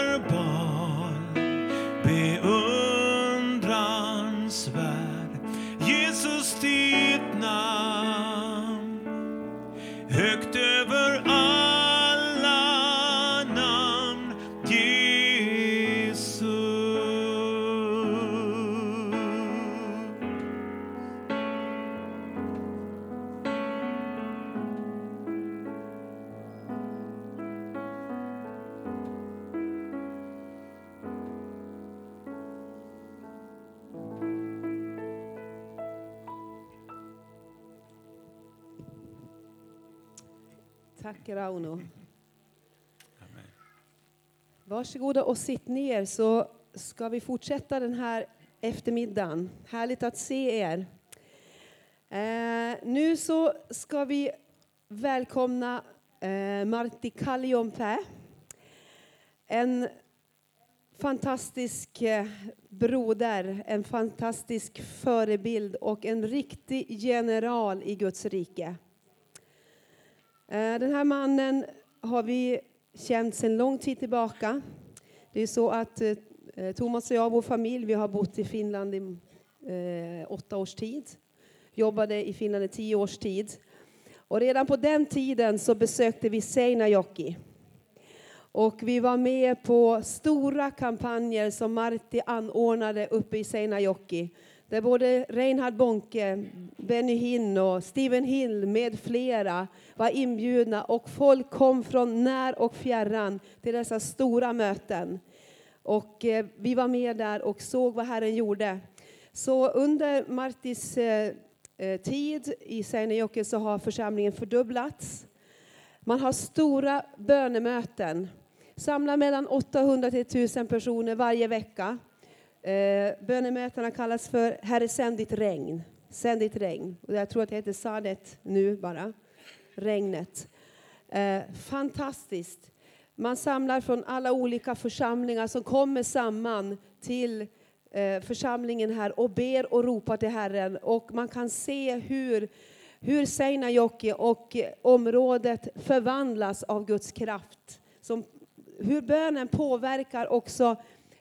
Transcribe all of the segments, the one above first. underbar, beundransvärd. Jesus, ditt namn högt över alla namn Jesus. Tack Rauno. Varsågoda och sitt ner så ska vi fortsätta den här eftermiddagen. Härligt att se er. Eh, nu så ska vi välkomna eh, Martti Kallionpää. En fantastisk eh, broder, en fantastisk förebild och en riktig general i Guds rike. Eh, Den här mannen har vi känt sedan lång tid tillbaka. Det är så att eh, Thomas och jag, vår familj, vi har bott i Finland i eh, åtta års tid. Jobbade i Finland i tio års tid. Och redan på den tiden så besökte vi Seinäjoki. Och vi var med på stora kampanjer som Martti anordnade uppe i Seinäjoki. Där både Reinhard Bonke, Benny Hinn och Steven Hill med flera var inbjudna och folk kom från när och fjärran till dessa stora möten. Och eh, vi var med där och såg vad Herren gjorde. Så under Martis eh, eh, tid i Seinäjoki så har församlingen fördubblats. Man har stora bönemöten. Samlar mellan 800 till 1000 personer varje vecka. Eh, bönemötena kallas för Herre sänd ditt regn. Sänd ditt regn. Och jag tror att det heter Sadet nu bara. Regnet. Eh, fantastiskt. Man samlar från alla olika församlingar som kommer samman till eh, församlingen här och ber och ropar till Herren. Och man kan se hur, hur Seinäjoki och eh, området förvandlas av Guds kraft. Som, hur bönen påverkar också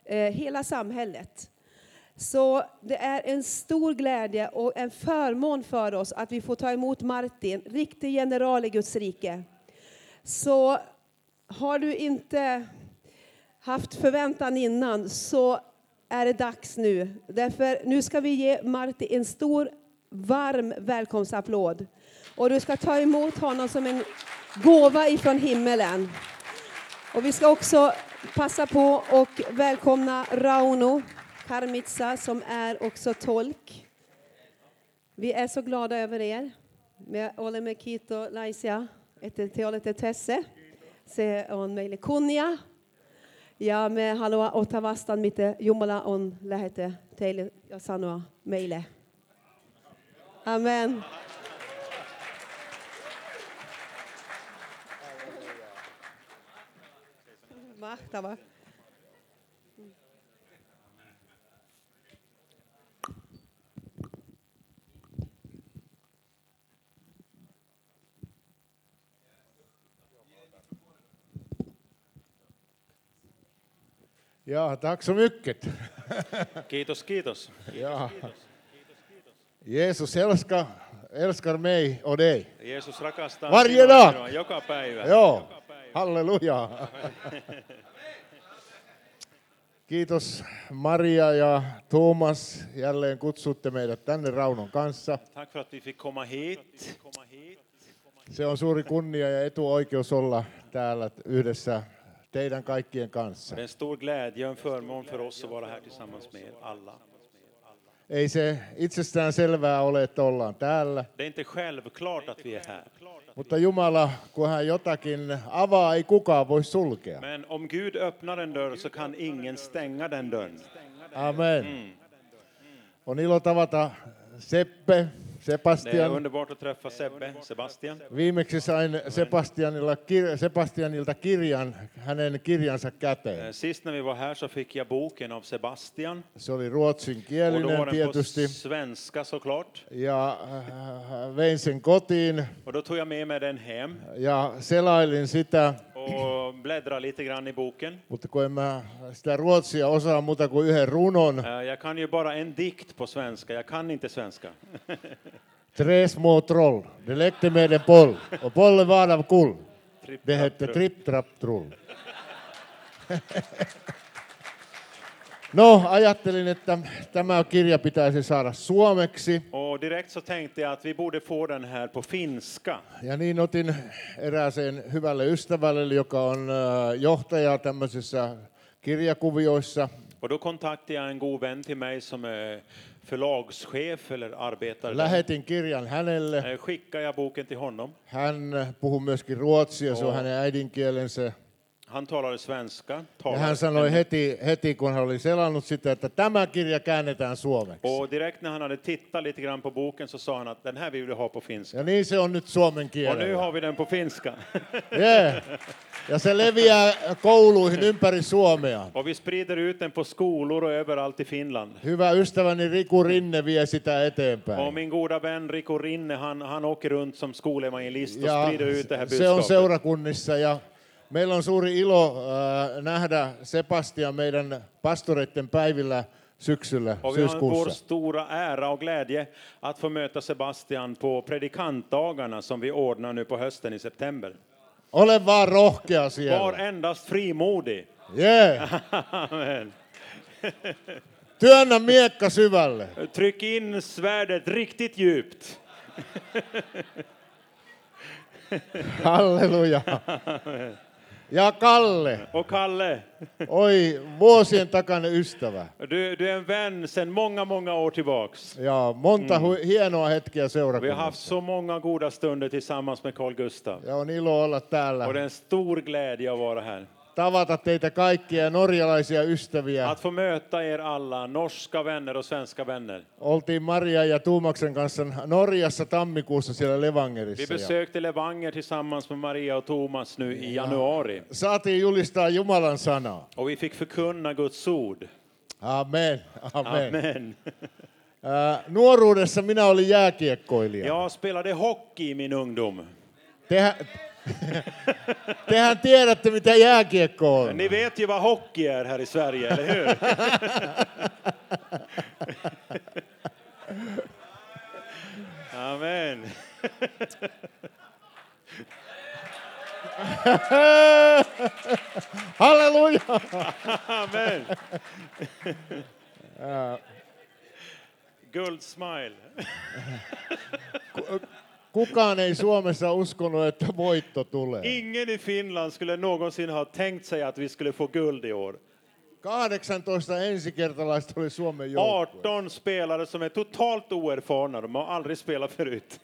eh, hela samhället. Så det är en stor glädje och en förmån för oss att vi får ta emot Martin, riktig general i Guds rike. Så har du inte haft förväntan innan så är det dags nu. Därför nu ska vi ge Martin en stor varm välkomstapplåd. Och du ska ta emot honom som en gåva ifrån himmelen. Och vi ska också passa på och välkomna Rauno Karmitsa som är också tolk. Vi är så glada över er. Me olemme kiito laisia, että te olette tässä. Se on meille kunnia. Ja me haluaa ottaa vastaan, mitä Jumala on lähetä teille ja sanoa meille. Amen. Mahtavaa. Ja, tack så mycket. Kiitos, kiitos. Ja. Jesus älskar, älskar mig och dig. Jeesus rakastaa Varje sinua, dag. Minua, joka päivä. Ja, halleluja. Kiitos Maria ja Thomas. Jälleen kutsutte meidät tänne Raunon kanssa. Tack för att vi fick komma hit. Se on suuri kunnia ja etuoikeus olla täällä yhdessä teidän kaikkien kanssa. Det är en stor glädje och en förmån för oss att vara här tillsammans med er alla. Ei se itsestään selvää ole, että ollaan täällä, Det är inte självklart att vi är här. mutta Jumala, kun hän jotakin avaa, ei kukaan voi sulkea. Men om Gud öppnar en dörr så kan ingen stänga den dörren. Amen. On ilo tavata Seppe, Det är Sebastian. underbart att träffa Sebbe, Sebastian. Viimeksi sain Sebastianilla, kir- Sebastianilta kirjan, hänen kirjansa Eh, käteen. Sist när vi var här så fick jag boken av Sebastian. Se oli Och då var ruotsinkielinen den på tietysti. svenska såklart. Ja äh, vein sen kotiin Och då tog jag med mig den hem ja selailin sitä och bläddrar lite grann i boken. Mutta kun en mä sitä ruotsia osaa muuta kuin yhden runon, Eh, Jag kan ju bara en dikt på svenska, jag kan inte svenska. Tre små troll, de lekte med en boll och bollen var av kull. Tripp, Det hette trapp, tripp, trapp, trull. No, ajattelin, että tämä kirja pitäisi saada suomeksi. Och direkt så tänkte jag att vi borde få den här på finska. Ja niin otin erääseen hyvälle ystävälle, joka on äh, johtaja tämmöisissä kirjakuvioissa. Och då kontaktade jag en god vän till mig som är förlagschef eller arbetare. där. Lähetin kirjan hänelle. Eh, Skickade jag boken till honom. Hän puhuu myöskin ruotsia, se on hänen äidinkielensä. Han talade svenska. Ja Talade hän sanoi heti, heti, kun hän oli selannut sitä, että tämä kirja käännetään suomeksi. Och direkt när han hade tittat lite grann på boken så sa han att den här vill vi ha på finska. Ja niin se on nyt suomen Och nu kielellä. har vi den på finska. Yeah. Ja se leviää kouluihin ympäri Suomea. Och vi sprider ut den på skolor och överallt i Finland. Hyvä ystäväni Riku Rinne vie sitä Och eteenpäin. min goda vän Rico Rinne, han, han åker runt som skolevangelist och Ja sprider ut det här se on budskapet. seurakunnissa ja meillä on suuri ilo äh, nähdä Sebastian meidän pastoreiden päivillä syksyllä, Och vi har vår syyskuussa. stora ära och glädje att få möta Sebastian på predikantdagarna som vi ordnar nu på hösten i september. Ole vaan rohkea Var siellä. endast frimodig. Yeah. Amen. Työnnä miekka syvälle. Tryck in svärdet riktigt djupt. Halleluja. Ja Kalle, Och Kalle, oi vuosien takainen ystävä. du, du är en vän sedan många, många år tillbaks. Ja monta hu- hienoa hetkeä Vi har seurakunnassa. haft så många goda stunder tillsammans med Carl Gustav. Ja on ilo olla täällä, Och det är en stor glädje att vara här. tavata teitä kaikkia norjalaisia ystäviä. Att få möta er alla, norska vänner och svenska vänner. Oltiin Maria ja Tuumaksen kanssa Norjassa tammikuussa siellä Vi Levangerissa. Ja besökte Levanger tillsammans med Maria och Thomas nu i januari. saatiin julistaa Jumalan sanaa. Och vi fick förkunna Guds ord. Amen. Amen. Amen. Ää, nuoruudessa minä olin jääkiekkoilija. Jag spelade hockey i min ungdom. Tehän, tehän tiedätte, mitä jääkiekko on. Ni vet ju vad hockey är här i Sverige, eller hur? Amen. Halleluja! Amen. Guldsmile. Kukaan ei Suomessa uskonut, että voitto tulee. Ingen i Finland skulle någonsin ha tänkt sig att vi skulle få guld i år. 18 ensikertalaista oli Suomen joukkue. 18 spelare som är totalt oerfarna, de har aldrig spelat förut.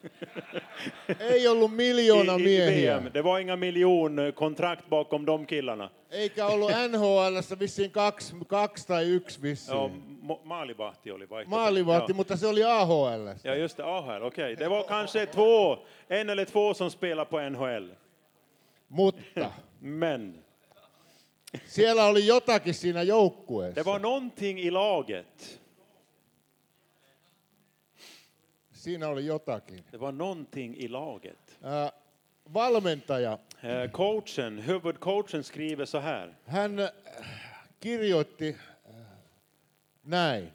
Ei ollut miljoona I, i miehiä, VM. Det var inga miljonkontrakt bakom de killarna. eikä ollut NHLssä vissiin kaksi, kaksi tai yksi Ja, vissiin. ma- maalivahti oli vaihto. Maalivahti, Ja. mutta se oli AHL. ja, just det. AHL, okej. Det var kanske två, en eller två som spelade på NHL. Mutta Men siellä oli jotakin siinä det joukkueessa. var någonting i laget. Siinä oli jotakin. Det var någonting i laget. Äh, valmentaja, Eh, Coachen, huvudcoachen skriver så här. hän äh, kirjoitti äh, näin.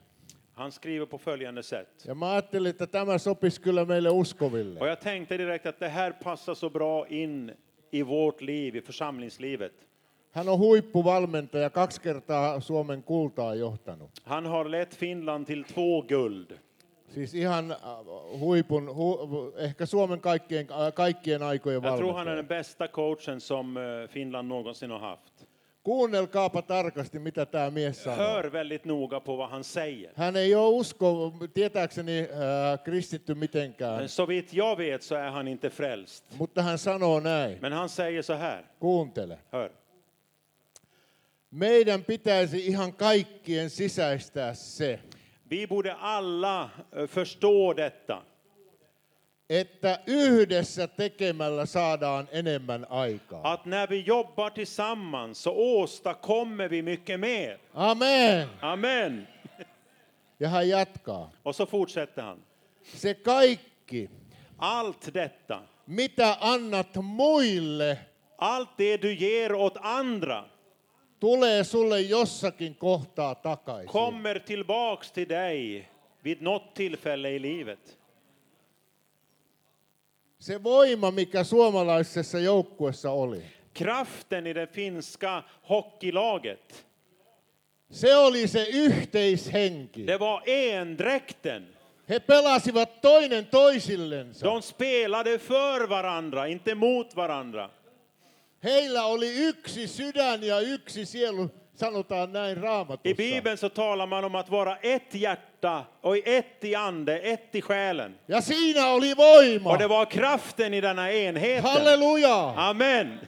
Han skriver på följande sätt. Ja mä ajattelin, että tämä sopisi kyllä meille uskoville. Och jag tänkte direkt att det här passar så bra in i vårt liv, i församlingslivet. Hän on huippuvalmentaja, kaksi kertaa Suomen kultaa johtanut. Han har lett Finland till två guld. Siis ihan äh, huipun, hu, ehkä Suomen kaikkien, äh, kaikkien aikojen Jag tror han är valmentaja. den bästa coachen som eh, Finland någonsin har haft. Kuunnelkaapa tarkasti, mitä tämä mies sanoo. Hör väldigt noga på vad han säger. Hän ei ole usko, tietääkseni äh, kristitty mitenkään, Men så vitt jag vet så är han inte frälst. mutta hän sanoo näin. Men han säger så här, Kuuntele. hör. Meidän pitäisi ihan kaikkien sisäistää se, Vi borde alla eh, förstå detta. että yhdessä tekemällä saadaan enemmän aikaa. Att när vi jobbar tillsammans så åstadkommer vi mycket mer. Amen. Amen! Ja hän jatkaa. Och så fortsätter han. Se kaikki, Allt detta, mitä annat muille, Allt det du ger åt andra tulee sulle jossakin kohtaa takaisin. kommer tillbaks till dig vid något tillfälle i livet. Se voima, mikä suomalaisessa joukkuessa oli, Kraften i det finska hockeylaget, se oli se yhteishenki. det var endräkten. He pelasivat toinen toisillensa. De spelade för varandra, inte mot varandra. Heillä oli yksi sydän ja yksi sielu, sanotaan näin I raamatussa. Bibeln så talar man om att vara ett hjärta och ett i ande, ett i själen. Ja siinä oli voima. Och det var kraften i denna enheten. Halleluja! Amen!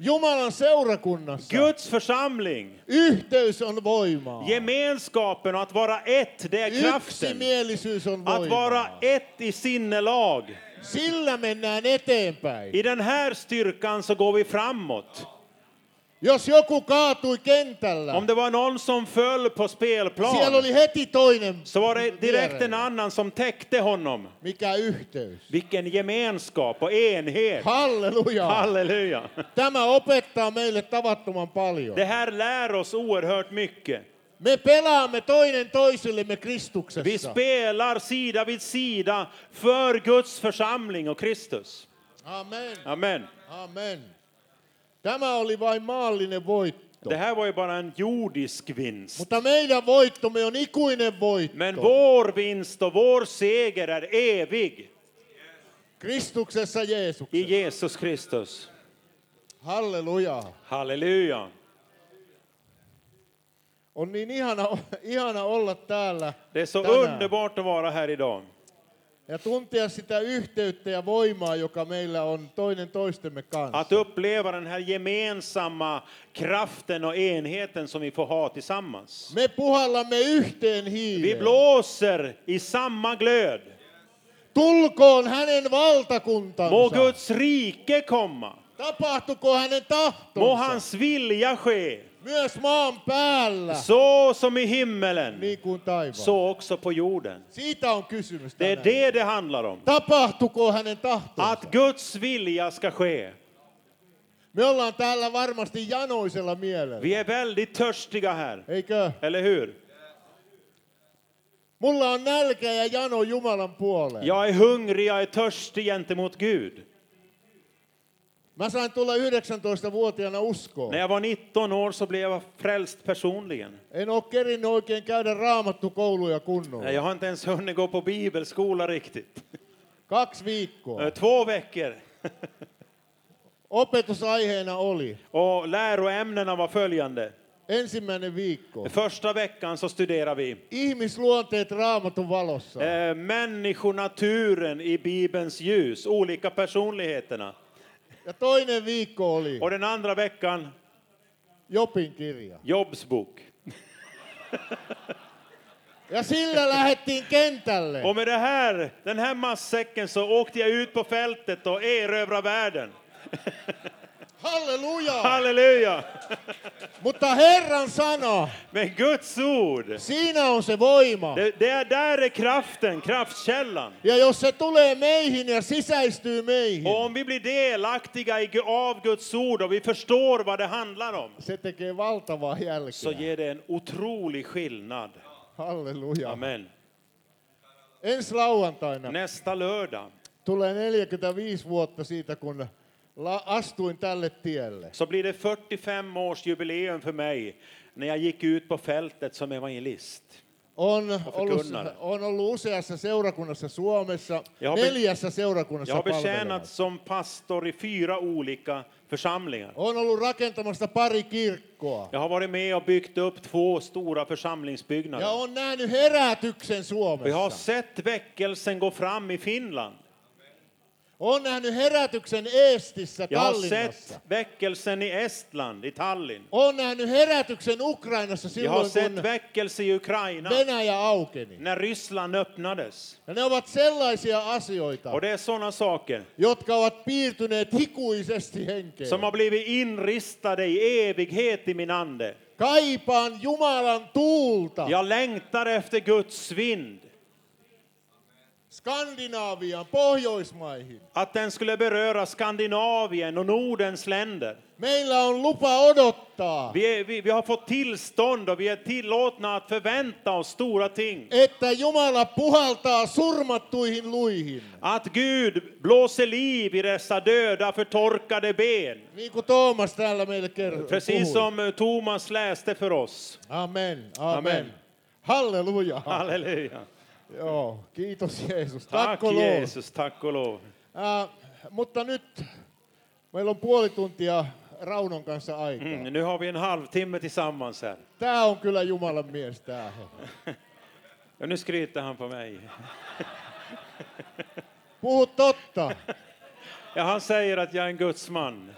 Jumalan seurakunnassa Guds församling, yhteys on voimaa. gemenskapen och att vara ett, det är kraften. Yksimielisyys on Att vara voimaa. ett i sinnelag. Sillä mennään eteenpäin. I den här styrkan så går vi framåt. Jos joku kaatui kentällä, Om det var någon som föll på siellä spelplan oli heti toinen, så var det direkt en vierellä. annan som täckte honom. mikä yhteys. Vilken gemenskap och enhet! Halleluja! Halleluja! Tämä opettaa meille tavattoman paljon. Det här lär oss oerhört mycket. Me pelaamme toinen toisillemme Vi Kristuksessa. spelar sida vid sida för Guds församling och Kristus. Amen. Amen. Amen. Tämä oli vain maallinen voitto. Det här var ju bara en jordisk vinst. Mutta meidän voittomme on ikuinen voitto. Men vår vinst och vår seger är evig Kristuksessa i Jeesuksessa. Jesus Kristus. Halleluja. Halleluja! On niin ihana, ihana olla täällä Det är så tänään underbart att vara här idag ja tuntea sitä yhteyttä ja voimaa, joka meillä on toinen toistemme kanssa. att uppleva den här gemensamma kraften och enheten som vi får ha tillsammans. Me puhallamme yhteen Vi hiileen. blåser i samma glöd. Tulkoon hänen Må valtakuntansa. Guds rike komma. Tapahtuko hänen Må tahtonsa hans vilja ske, myös maan päällä, så som i himmelen, niin kuin taivaassa. så också på jorden. Siitä on kysymys Det är tänään. det det handlar om. Tapahtuko hänen tahtonsa? Att Guds vilja ska ske. Me ollaan täällä varmasti janoisella mielellä, Vi är väldigt törstiga här, eikö? eller hur? Mulla on nälkä ja jano Jumalan puoleen. Jag är hungrig, jag är törstig gentemot Gud. Mä sain tulla 19-vuotiaana uskoon. När jag var 19 år så blev jag frälst personligen. En ole kerinnyt oikein käydä raamattukouluja kunnolla. Nej, Jag har inte ens hunnit gå på bibelskola riktigt. Kaksi viikkoa. Eh, Två veckor. Opetusaiheena oli Och läroämnena var följande. ensimmäinen viikko. Första veckan så studerade vi Ihmisluonteet raamatun valossa. eh, människonaturen i Bibelns ljus, olika personligheterna. Ja toinen viikko oli Och den andra veckan, Jopin kirja. Jobs bok. Ja sillä lähettiin kentälle. Och med det här, den här massäcken så åkte jag ut på fältet och erövrade världen. Halleluja! Halleluja! Mutta Herran sana, Men Guds ord, siinä on se voima. det, det är där är kraften, kraftkällan. Ja jos se tulee meihin ja sisäistyy meihin, Och om vi blir delaktiga i, Gu- av Guds ord och vi förstår vad det handlar om se tekee valtavaa så jälkeä. ger det en otrolig skillnad. Halleluja. Amen. Ensi lauantaina Nästa lördag tulee 45 vuotta siitä, kun la- astuin tälle tielle. så blir det 45 års jubileum för mig när jag gick ut på fältet som evangelist. On ollut, Gunnar. on ollut useassa seurakunnassa Suomessa, Ja be- neljässä Jag seurakunnassa har palvelevana. betjänat som pastor i fyra olika församlingar. On ollut rakentamasta pari kirkkoa. Jag har varit med och byggt upp två stora församlingsbyggnader. Ja on nähnyt herätyksen Och jag Suomessa. har sett väckelsen gå fram i Finland. On nähnyt herätyksen Eestissä, Jag har Tallinnassa. sett väckelsen i Estland, i Tallinn. On nähnyt herätyksen Ukrainassa Jag har silloin, sett kun väckelse i Ukraina Venäjä aukeni. när Ryssland öppnades. Ja ne ovat sellaisia asioita, Och det är sådana saker jotka ovat piirtyneet ikuisesti henkeen. som har blivit inristade i evighet i min ande. Kaipaan Jumalan tuulta. Jag längtar efter Guds vind. Skandinavian, Pohjoismaihin. Att den skulle beröra Skandinavien och Nordens länder. Meillä on lupa odottaa, Vi, är, vi, vi har fått tillstånd och vi är tillåtna att förvänta oss stora ting. että Jumala puhaltaa surmattuihin luihin. Att Gud blåser liv i dessa döda, förtorkade ben. Niin kuin Toomas täällä meille kertoi. Precis som eh, Thomas läste för oss. Amen, Amen. amen. Halleluja. Halleluja. Joo, kiitos Jeesus. Tack Takko Lord. Jesus, tack och lov. Äh, mutta nyt meillä on puoli tuntia Raunon kanssa aikaa. Mm, nu har vi en halvtimme tillsammans här. Tää on kyllä Jumalan mies tää. Och nu skryter han på mig. Puhu totta. Ja, han säger att jag är en gudsman.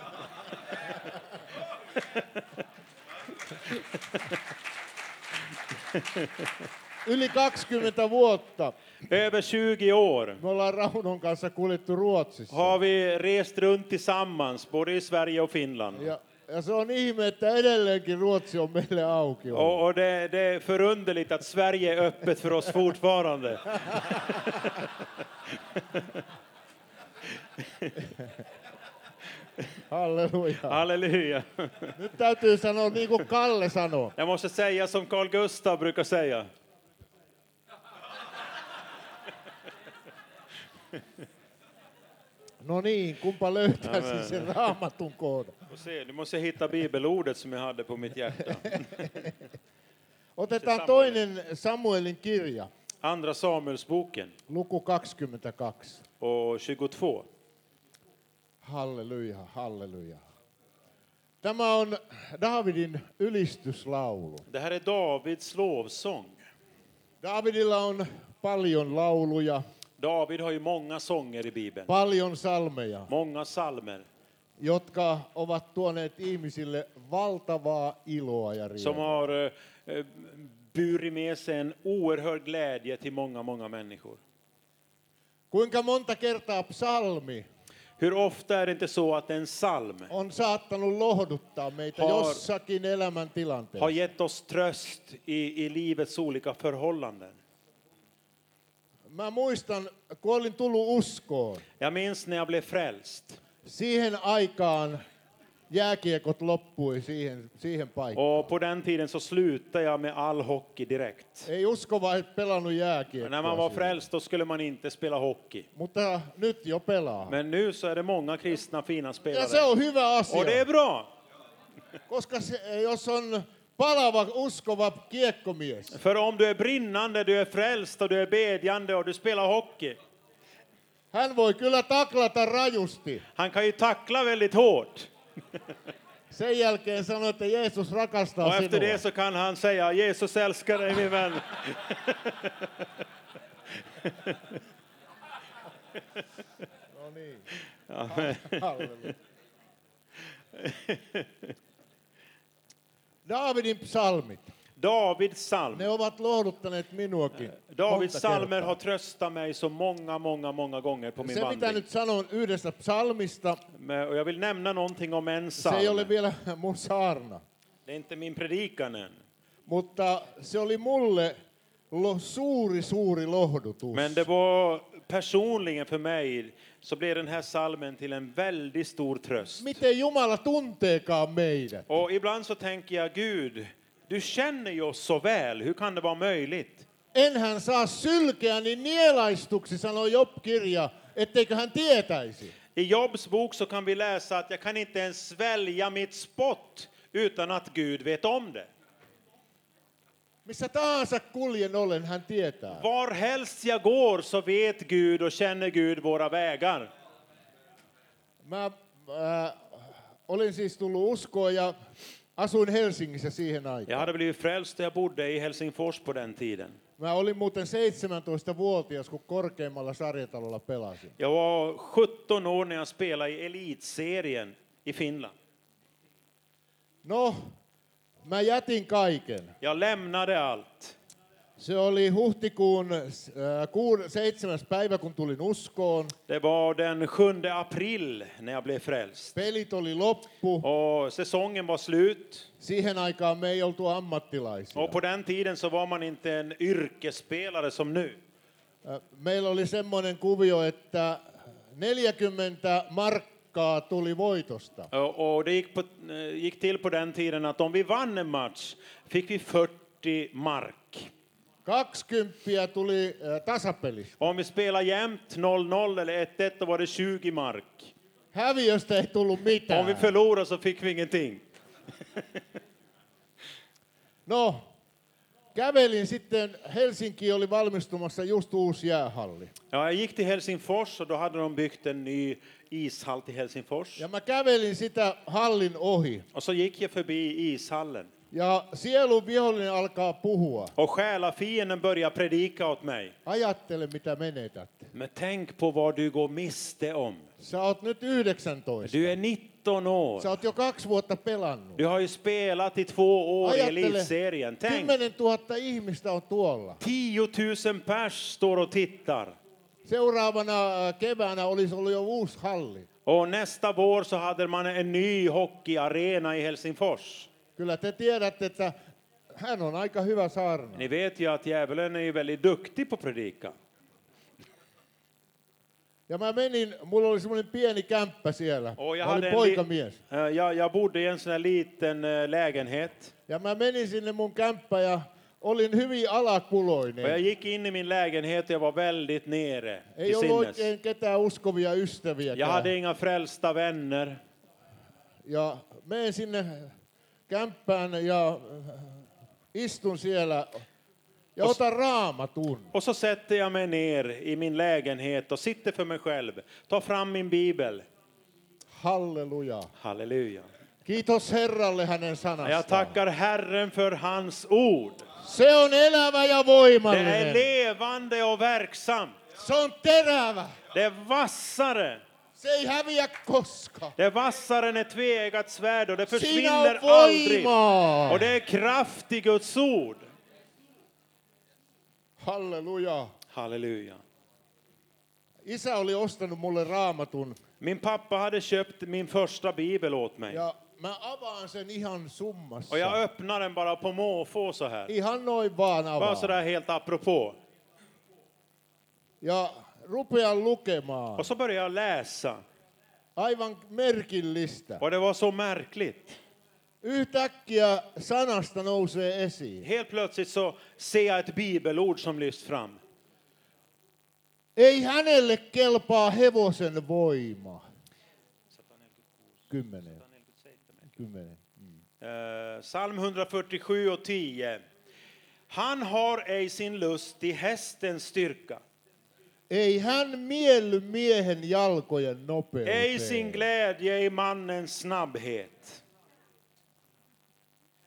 Yli 20 vuotta Över 20 år me ollaan Raunon kanssa kuljettu Ruotsissa. har vi rest runt tillsammans, både i Sverige och Finland. Ja, ja se on ihme, että edelleenkin Ruotsi on meille auki. ollut. Och, och det, det är förunderligt att Sverige är öppet för oss fortfarande. Halleluja. Halleluja! Nyt täytyy sanoa niin kuin Kalle sanoo. Jag måste säga som Carl Gustav brukar säga. No niin, kumpa löytäisi sen raamatun koodan. Får No niin. se, Nu måste jag hitta bibelordet som jag hade på mitt hjärta. Otetaan toinen Samuelin kirja, Andra Samuelsboken luku 22. och 22. Halleluja, halleluja. Tämä on Daavidin ylistyslaulu. Det här är Davids lovsång. Daavidilla on paljon lauluja, David har ju många sånger i Bibeln, paljon salmeja, många salmer jotka ovat tuoneet ihmisille valtavaa iloa ja som riemua. har eh, eh, burit med sig en oerhörd glädje till många, många människor. Kuinka monta kertaa psalmi Hur ofta är det inte så att en psalm on saattanut lohduttaa meitä Har- jossakin har elämäntilanteessa? gett oss tröst i, i livets olika förhållanden? Mä muistan, kun olin tullut uskoon, Jag minns när jag blev frälst siihen aikaan jääkiekot loppui siihen, siihen paikkaan. och på den tiden så slutade jag med all hockey direkt. Ei uskovaiset pelannut Men jääkiekkoa. när man var silloin. frälst då skulle man inte spela hockey. Mutta nyt jo pelaa. Men nu så är det många kristna fina Ja se spelare. on hyvä asia, Och det är bra! koska se, jos on palava, uskova kiekkomies, För om du är brinnande, du är frälst och du är bedjande och du spelar hockey. hän voi kyllä taklata rajusti. Han kan ju tackla väldigt hårt. Sen jälkeen sanoi, että Jeesus rakastaa Och efter det sinua. så kan han säga Jesus älskar dig min vän. No niin. Ja, men- halleluja. Daavidin psalmit, Davids psalm. ne ovat lohduttaneet minuakin. Davids monta psalmer kertaa. har tröstat mig så många, många, många gånger på min Se, mitä vandring. nyt sanon yhdestä psalmista, Men- Och jag vill nämna någonting om en se ei ole psalm. vielä mun saarna, Det är inte min predikan än. mutta se oli mulle lo, suuri, suuri lohdutus. Men det var personligen för mig så blev den här salmen till en väldigt stor tröst. Miten Jumala tunteekaan meidät? Och ibland så tänker jag, Gud, du känner ju oss så väl, hur kan det vara möjligt? Enhän saa sylkeäni nielaistuksi, sanoi Job-kirja, etteikö hän tietäisi. I Jobs bok så kan vi läsa att jag kan inte ens svälja mitt spott utan att Gud vet om det. Missä tahansa kuljen olen, hän tietää. Var helst jag går så vet Gud och känner Gud våra vägar. Mä äh, olin siis tullut uskoon ja asuin Helsingissä siihen Jag aikaan. hade blivit frälst och jag bodde i Helsingfors på den tiden. Mä olin muuten 17-vuotias, kun korkeimmalla sarjatalolla pelasin. Jag var 17 år när jag spelade i elitserien i Finland. No, mä jätin kaiken. Jag lämnade allt. Se oli huhtikuun äh, kuud- seitsemäs päivä, kun tulin uskoon. Det var den 7 april när jag blev frälst. Pelit oli loppu. Och säsongen var slut. Siihen aikaan me ei oltu ammattilaisia. Och på den tiden så var man inte en yrkesspelare som nu. Äh, Meillä oli semmoinen kuvio, että 40 markkaa tuli voitosta. Eh, Och och det gick, på, eh, gick till på den tiden att om vi vann en match fick vi 40 mark. 20 tuli äh, tasapeli. Om vi spelade jämnt 0-0 eller 1-1 då var det 20 mark. Häviöstä ei tullut Om vi mitään. förlorade så fick vi ingenting. No, kävelin sitten, Helsinki oli valmistumassa just uusi jäähalli. Ja, jag gick till Helsingfors och då hade de byggt en ny ishall till Helsingfors. Ja mä kävelin sitä hallin ohi. Och så gick jag förbi ishallen Ja sielun vihollinen alkaa puhua. och själafienden började predika åt mig. Ajattele, mitä menetät. Men tänk på vad du går miste om. Sä oot nyt 19. Du är 19 år. Sä oot jo kaksi vuotta pelannut. Du har ju spelat i två år i Ajattele, elitserien. Tänk, 10 000 ihmistä on tuolla. 10 000 pers står och tittar. Seuraavana äh, keväänä olisi ollut jo uusi halli. Och nästa vår så hade man en ny hockeyarena i Helsingfors. Kyllä te tiedätte, että hän on aika hyvä saarna. Ni vet ju att djävulen är ju väldigt duktig på att predika. Ja mä menin, mulla oli semmoinen pieni kämppä siellä. Och jag, Mä olin hade en poikamies. li- Eh, jag, jag bodde i en sån här liten eh, lägenhet. Ja mä menin sinne mun kämppä ja olin hyvin alakuloinen. Och jag gick in i min lägenhet och jag var väldigt nere i Ei ollut sinnes. oikein ketään uskovia ystäviä. Jag hade inga frälsta vänner. Ja menen sinne kämppään ja äh, istun siellä ja otan raamatun. Och så sätter jag mig ner i min lägenhet och sitter för mig själv. Tar fram min bibel. Halleluja. Halleluja. Kiitos Herralle hänen Jag sanastaan. tackar Herren för hans ord. Se on elävä ja Det är voimallinen. levande och verksamt. Se on terävä. Det är vassare. Se ei häviä koskaan. Det är vassare än ett tveeggat svärd och det Siinä on försvinner aldrig. voimaa. Och det är kraft i Guds ord. Halleluja. Halleluja. Isä oli ostanut mulle raamatun Min pappa hade köpt min första bibel åt mig. ja mä avaan sen ihan summassa. Och jag öppnar den bara på måfå så här. Ihan noin vaan Bara avaan. så där helt apropå. Ja rupean lukemaan. Och så börjar jag läsa. Aivan merkillistä. Och det var så märkligt. Yhtäkkiä sanasta nousee esiin. Helt plötsligt så ser jag ett bibelord som lyfts fram. Ei hänelle kelpaa hevosen voima. Kymmenen. Kymmenen. Eh, Psalm 147 och 10. Han har ej sin lust i hästens styrka, Ei hän mielly miehen jalkojen ej sin nopeuteen. glädje i mannens snabbhet.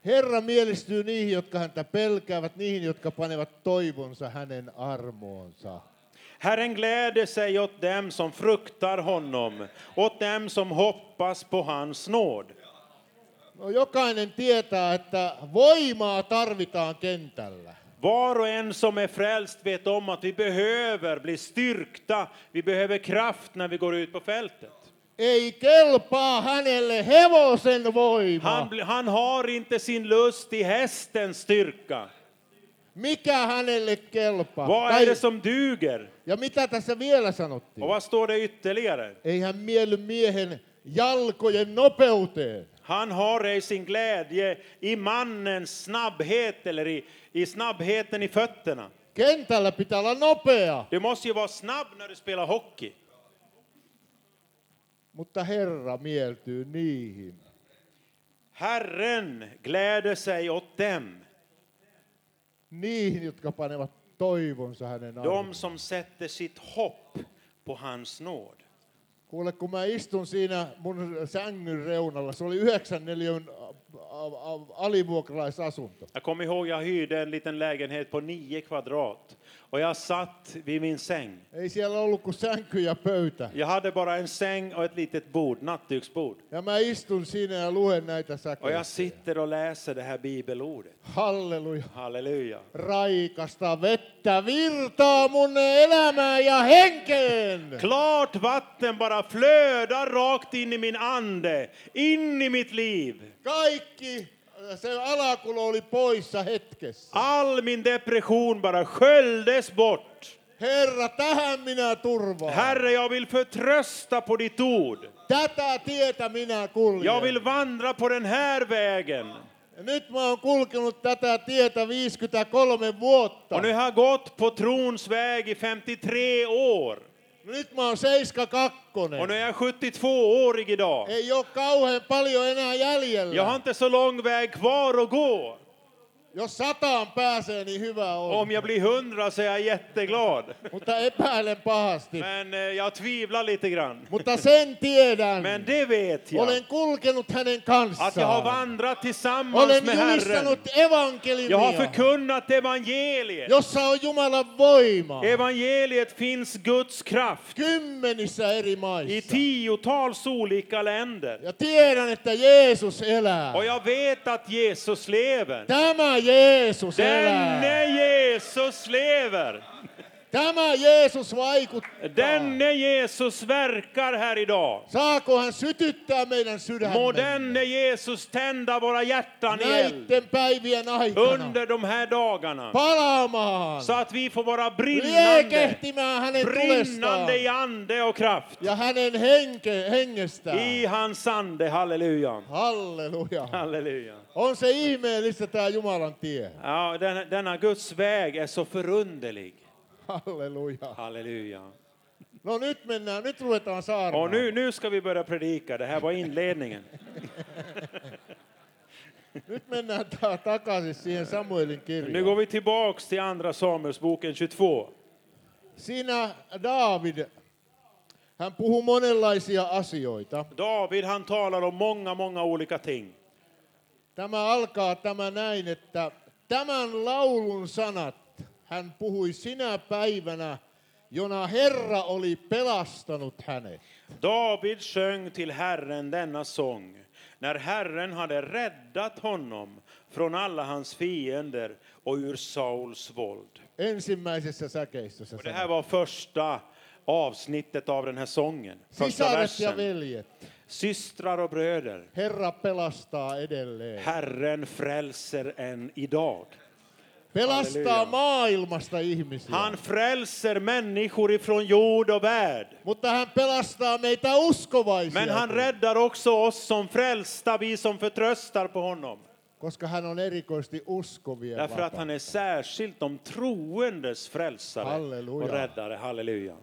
Herra mielistyy niihin, jotka häntä pelkäävät, niihin, jotka panevat toivonsa hänen armoonsa. Herren gläder sig åt dem som fruktar honom, åt dem som hoppas på hans nåd. No, jokainen tietää, että voimaa tarvitaan kentällä. Var och en som är frälst vet om att vi behöver bli styrkta, vi behöver kraft när vi går ut på fältet. Ei kelpaa hänelle hevosen voima. Han, bli- han har inte sin lust i hästens styrka. Mikä hänelle kelpaa? Vad Tai, är det som duger? ja mitä tässä vielä sanottiin? Och vad står det ytterligare? Ei hän mielly miehen jalkojen nopeuteen. Han har ej sin glädje i mannens snabbhet eller i, i snabbheten i fötterna. Kentällä pitää olla nopea, Du måste ju vara snabb när du spelar hockey. mutta Herra mieltyy niihin. Herren gläder sig åt dem, Niihin, jotka panevat toivonsa hänen de armoonsa. som sätter sitt hopp på hans nåd. Kuule, kun mä istun siinä mun sängyn reunalla, se oli 9-neliön alivuokralaisasunto. Jag kommer ihåg jag hyrde en liten lägenhet på nio kvadrat och jag satt vid min säng. Ei siellä ollut kuin sänky ja pöytä. Jag hade bara en säng och ett litet bord, nattduksbord. Ja mä istun siinä ja luen näitä Och säköjä. jag sitter och läser det här bibelordet. Halleluja. Halleluja. Raikasta vettä virtaa mun elämään ja henkeen. Klart vatten bara flödar rakt in i min ande, in i mitt liv. Kaikki se alakulo oli poissa hetkessä. All min depression bara sköljdes bort. Herra, tähän minä turvaan. Herre, jag vill förtrösta på ditt ord. Tätä tietä minä Jag kuljen. vill vandra på den här vägen. Nyt mä oon kulkenut tätä tietä 53 vuotta. Och nu har jag gått på trons väg i 53 år. Nyt mä oon 72. Och nu är jag 72-årig idag. Ei ole kauhean paljon enää jäljellä. Jag har inte så lång väg kvar att gå. Jos sataan pääsee, niin hyvä on. Om jag blir 100 så är jag jätteglad. Mutta epäilen pahasti. Men eh, jag tvivlar lite grann. Mutta sen tiedän. Men det vet jag. Olen kulkenut hänen Att jag har kanssaan. vandrat tillsammans Olen med Herren. julistanut evankeliumia, Jag har förkunnat evangeliet. jossa on Jumalan voima. Evangeliet finns Guds kraft Kymmenissä eri i maissa. tiotals olika länder. Ja tiedän, että Jeesus elää. Och jag vet att Jesus lever. Tämä Jeesus elää. Denne Jesus lever! Tämä Jeesus vaikuttaa. Denne Jesus verkar här idag. Saako hän sytyttää meidän Må sydämemme denne Jesus tända våra hjärtan i eld näiden päivien aikana under de här dagarna palaamaan, så att vi får vara brinnande, liekehtimään hänen tulestaan brinnande i ande och kraft ja hänen henke, hengestään. i hans ande. Halleluja! Halleluja. Halleluja! On se ihmeellistä tämä Jumalan tie. Ja, den, denna Guds väg är så förunderlig. Halleluja. Halleluja. No nyt mennään, nyt ruvetaan Och saarnaan. nu, nu ska vi börja predika. Det här var inledningen. Nyt mennään ta- takaisin siihen Samuelin Nu kirjaan. går vi tillbaks till Andra Samuelsboken 22. Siinä Daavid, hän puhuu monenlaisia asioita. David han talar om många, många olika ting. Tämä alkaa tämä näin, että tämän laulun sanat hän puhui sinä päivänä, jona Herra oli pelastanut hänet. David sjöng till Herren denna sång när Herren hade räddat honom från alla hans fiender och ur Sauls våld. Ensimmäisessä säkeistössä. Och det här sanoi. var första avsnittet av den här sången. Första Sisaret ja versen. veljet, Systrar och bröder, Herra pelastaa edelleen. Herren frälser en idag. Pelastaa Halleluja. maailmasta ihmisiä, Han frälser människor ifrån jord och värld. mutta hän pelastaa meitä uskovaisia, Men han räddar också oss som frälsta, vi som förtröstar på honom. koska hän on erikoisesti uskovia Därför att han är särskilt de troendes frälsare Halleluja. och räddare. Halleluja.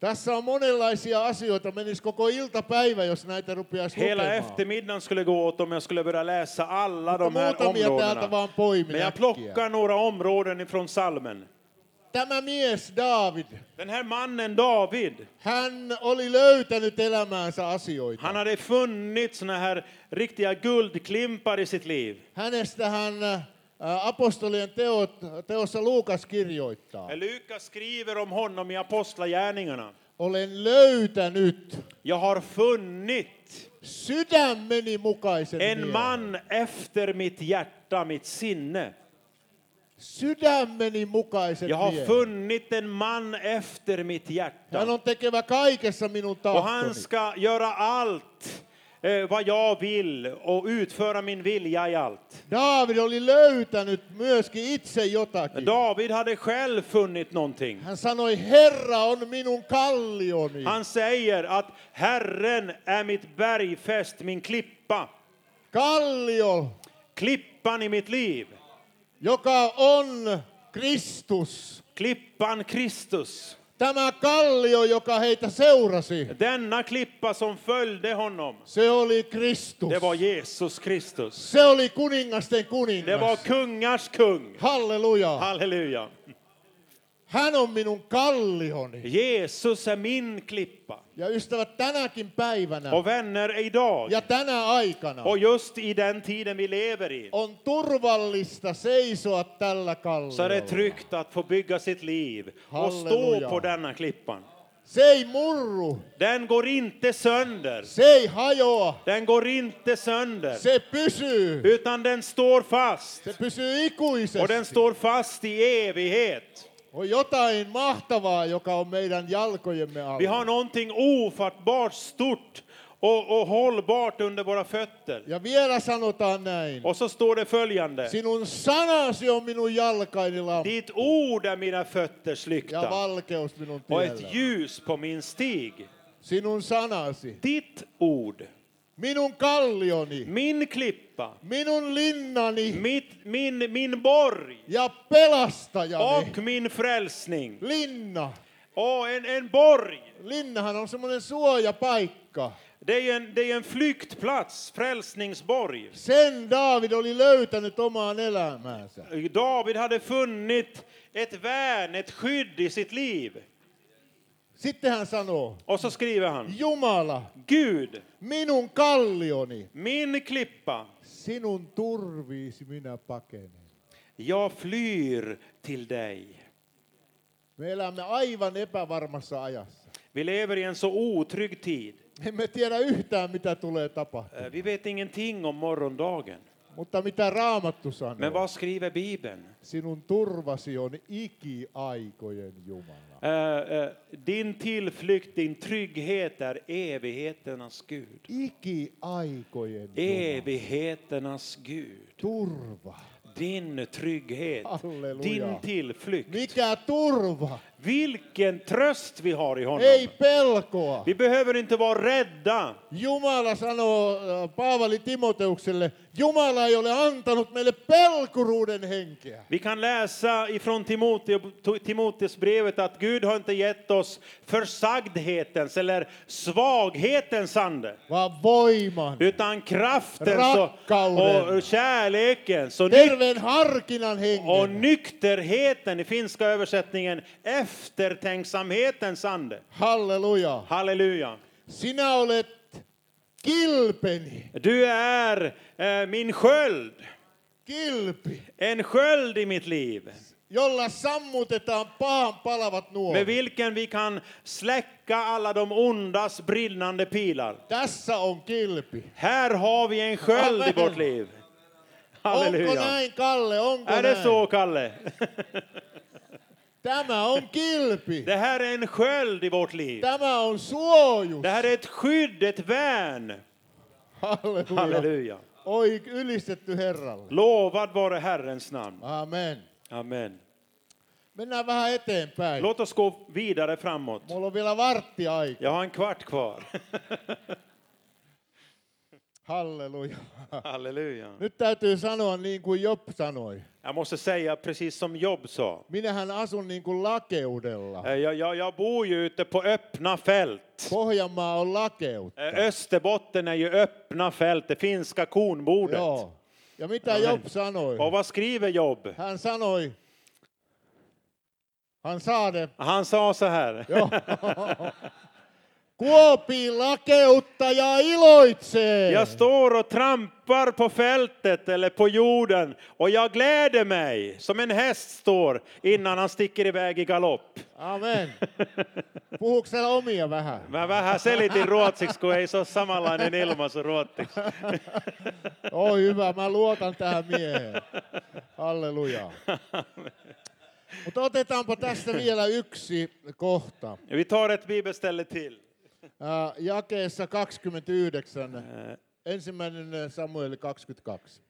Tässä on monenlaisia asioita. Menisi koko iltapäivä, jos näitä rupeaisi Hela lukemaan. eftermiddagen skulle gå åt om jag skulle börja läsa alla Mutta de här muutamia täältä områdena. vaan poimin Men jag äkkiä. plockar några områden ifrån salmen. Tämä mies David, Den här mannen David, hän oli löytänyt elämäänsä asioita. han hade funnit såna här riktiga guldklimpar i sitt liv. Hänestä hän äh, apostolien teot, teossa Luukas kirjoittaa. Lukas skriver om honom i Apostlagärningarna. Olen löytänyt Jag har funnit sydämeni mukaisen En miehen. man efter mitt hjärta, mitt sinne. Sydämeni mukaisen Jag har miehen. funnit en man efter mitt Hän hjärta. on tekevä kaikessa minun Och tahtoni. han ska göra allt eh, vad jag vill och utföra min vilja i allt. Daavid oli löytänyt myöskin itse jotakin. David hade själv funnit någonting. Hän sanoi, Herra on minun kallioni. Han säger att Herren är mitt bergfäst, min klippa. Kallio, Klippan i mitt liv. joka on Kristus. Klippan Kristus. Tämä kallio, joka heitä seurasi, Denna klippa som följde honom, se oli Kristus. det var Jesus Kristus. Se oli kuningasten kuningas. Det var kungars kung. Halleluja. Halleluja. Hän on minun kallioni. Jesus är min klippa. Ja ystävät, tänäkin päivänä Och vänner, idag ja tänä aikana och just i den tiden vi lever i on turvallista seisoa tällä så är det kalliolla. tryggt att få bygga sitt liv och Halleluja. stå på denna klippan. Se ei murru, Den går inte sönder. se ei hajoa, Den går inte sönder, se pysyy. utan den står fast. Se pysyy Och den ikuisesti. står fast i evighet. On jotain mahtavaa, joka on meidän jalkojemme Vi alla. har någonting ofattbart stort och, och hållbart under våra fötter. Ja vielä sanotaan näin. Och så står det följande. Sinun sanasi on minun jalkaini lamppu Ditt ord är mina fötters ja lykta valkeus minun och ett tiellä. ljus på min stig. Sinun sanasi, Ditt ord, minun kallioni, min klippa, minun linnani mitt, min, min borg ja pelastajani. och min frälsning. Linna. Och en, en borg, Linnahan on semmoinen suojapaikka. det är ju en, det är en flyktplats, frälsningsborg. Sen Daavid oli löytänyt omaan elämäänsä. David hade funnit ett värn, ett skydd i sitt liv. Sitten hän sanoo, Och så skriver han, Jumala, Gud, minun kallioni, min klippa, sinun turviisi minä pakenen. jag flyr till dig. Me elämme aivan epävarmassa ajassa. Vi lever i en så otrygg tid. Emme tiedä yhtään, mitä tulee tapahtumaan. Eh, Vi vet ingenting om morgondagen. Mutta mitä Raamattu Men sanoo? vad skriver Bibeln? Sinun turvasi on ikiaikojen Jumala. Eh, eh, Din tillflykt, din trygghet är evigheternas Gud. Ikiaikojen Jumala. Evigheternas Gud. Turva. Din trygghet, Halleluja. din tillflykt. Mikä turva? Vilken tröst vi har i Ei honom. pelkoa. Vi behöver inte vara rädda. Jumala sanoo äh, Paavali Timoteukselle, Jumala ei ole antanut meille pelkuruuden henkeä, Vi kan läsa ifrån Timote- Timoteusbrevet att Gud har inte gett oss försagdhetens eller svaghetens ande. vaan voiman, utan kraften Rakkauden. och, och kärleken så ny- terveen harkinnan och hengen. nykterheten i finska översättningen eftertänksamhetens ande. Halleluja. Halleluja. Sinä olet kilpeni, Du är eh, min sköld, kilpi, en sköld i mitt liv jolla sammutetaan pahan palavat med nuoret. vilken vi kan släcka alla de ondas brinnande pilar. Tässä on kilpi. Här har vi en sköld i vårt liv. Onko Halleluja. näin, Kalle? Onko Är det så, näin? Kalle? Tämä on kilpi. Det här är en sköld i vårt liv. Tämä on suojus. Det här är ett skydd, ett värn. Halleluja. Halleluja. Oi, ylistetty Herralle. Lovad vare Herrens namn. Amen. Amen. Mennään vähän eteenpäin. Låt oss gå vidare framåt. Mulla on vielä vartti aika. Jag har en kvart kvar. Halleluja. Halleluja. Nyt täytyy sanoa niin kuin Job sanoi. Jag måste säga precis som Job sa. Minähän asun niin kuin lakeudella. Eh, Jag, jag, jag bor ju ute på öppna fält. Pohjanmaa on lakeut. Eh, Österbotten är ju öppna fält, det finska kornbordet. Joo. Ja mitä Job sanoi? Och vad skriver Job? Hän sanoi, hän saade, Han sa så här. kuopii lakeutta ja iloitsee. Jag står och trampar på fältet eller på jorden och jag gläder mig som en häst står innan han sticker iväg i galopp. Amen. Puhuuko siellä omia vähän? Mä vähän selitin ruotsiksi, kun ei se ole samanlainen ilmaisu ruotsiksi. Oi hyvä, mä luotan tähän mieheen. Halleluja. Mutta otetaanpa tästä vielä yksi kohta. Vi tar ett bibelställe till. Ää, Jakeessa 29, ensimmäinen Samuel 22.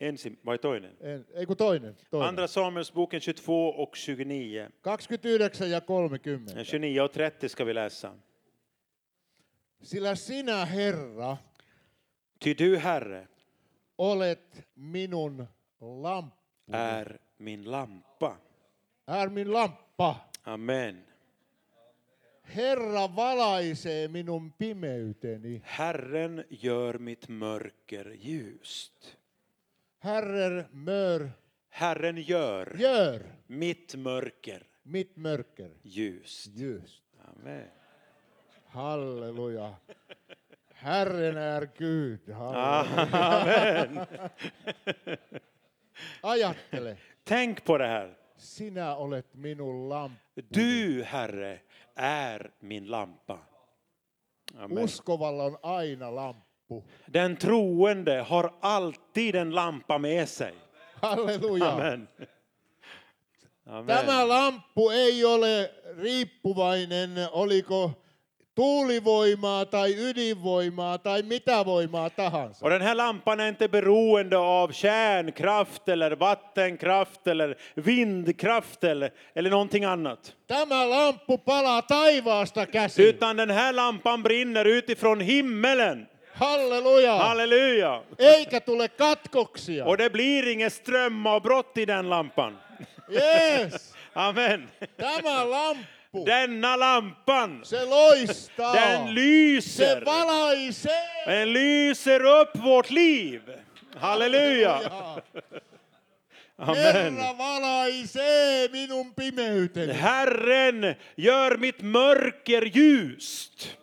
Ensin, vai toinen? En, ei kun toinen, toinen. Andra Samuelsboken 22 och 29. 29 ja 30. Eh, 29 och 30 ska vi läsa. Sillä sinä, Herra, Ty du, Herre, olet minun lamppa. är min lampa. Är min lamppa. Amen. Herra valaisee minun pimeyteni. Herren gör mitt mörker ljust. Herrer mör, Herren gör gör mitt mörker mitt mörker ljust. ljust. Amen. Halleluja. Herren är Gud. Halleluja. Amen. Ajattele, Tänk på det här. sinä olet minun lamppa. Du, Herre, är min lampa. Amen. Uskovalla on aina lamppu. Den troende har alltid en lampa med sig. Halleluja. Amen. Amen. Tämä lamppu ei ole riippuvainen, oliko tuulivoimaa tai ydinvoimaa tai mitä voimaa tahansa. Och den här lampan är inte beroende av kärnkraft eller vattenkraft eller vindkraft eller, eller någonting annat. Tämä lamppu palaa taivaasta käsin. Utan den här lampan brinner utifrån himmelen. Halleluja! Halleluja! Eikä tule katkoksia. Och det blir inget strömavbrott i den lampan. Yes. Amen. Tämä lamppu, Denna lampan, se loistaa. den Se lyser. valaisee. Den lyser upp vårt liv. Halleluja! Amen. Herra valaisee minun pimeyteni. Herren gör mitt mörker ljust.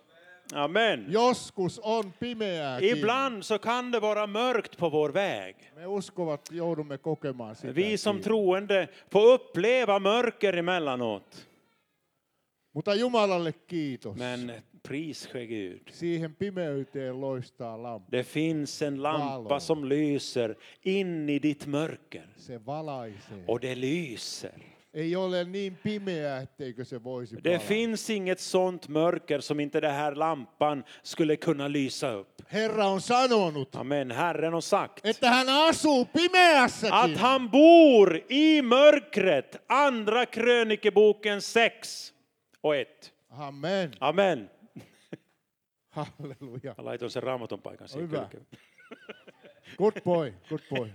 Amen. Joskus on pimeääkin. Ibland så kan det vara mörkt på vår väg. Me uskovat joudumme kokemaan sitä. Vi som troende får uppleva mörker emellanåt. Mutta Jumalalle kiitos. Men pris ske Gud. Siihen pimeyteen loistaa lamppu. Det finns en lampa som lyser in i ditt mörker. Se valaisee. Och det lyser. Ei ole niin pimeää, etteikö se voisi Det valaa. finns inget sånt mörker som inte den här lampan skulle kunna lysa upp. Herra on sanonut, Amen. Herren har sagt. että hän asuu pimeässäkin. att han bor i mörkret. Andra krönikeboken 6 och 1. Amen. Amen. Halleluja. Mä laitoin sen raamatun paikan siihen Hyvä. kylkeen. Good boy, good boy.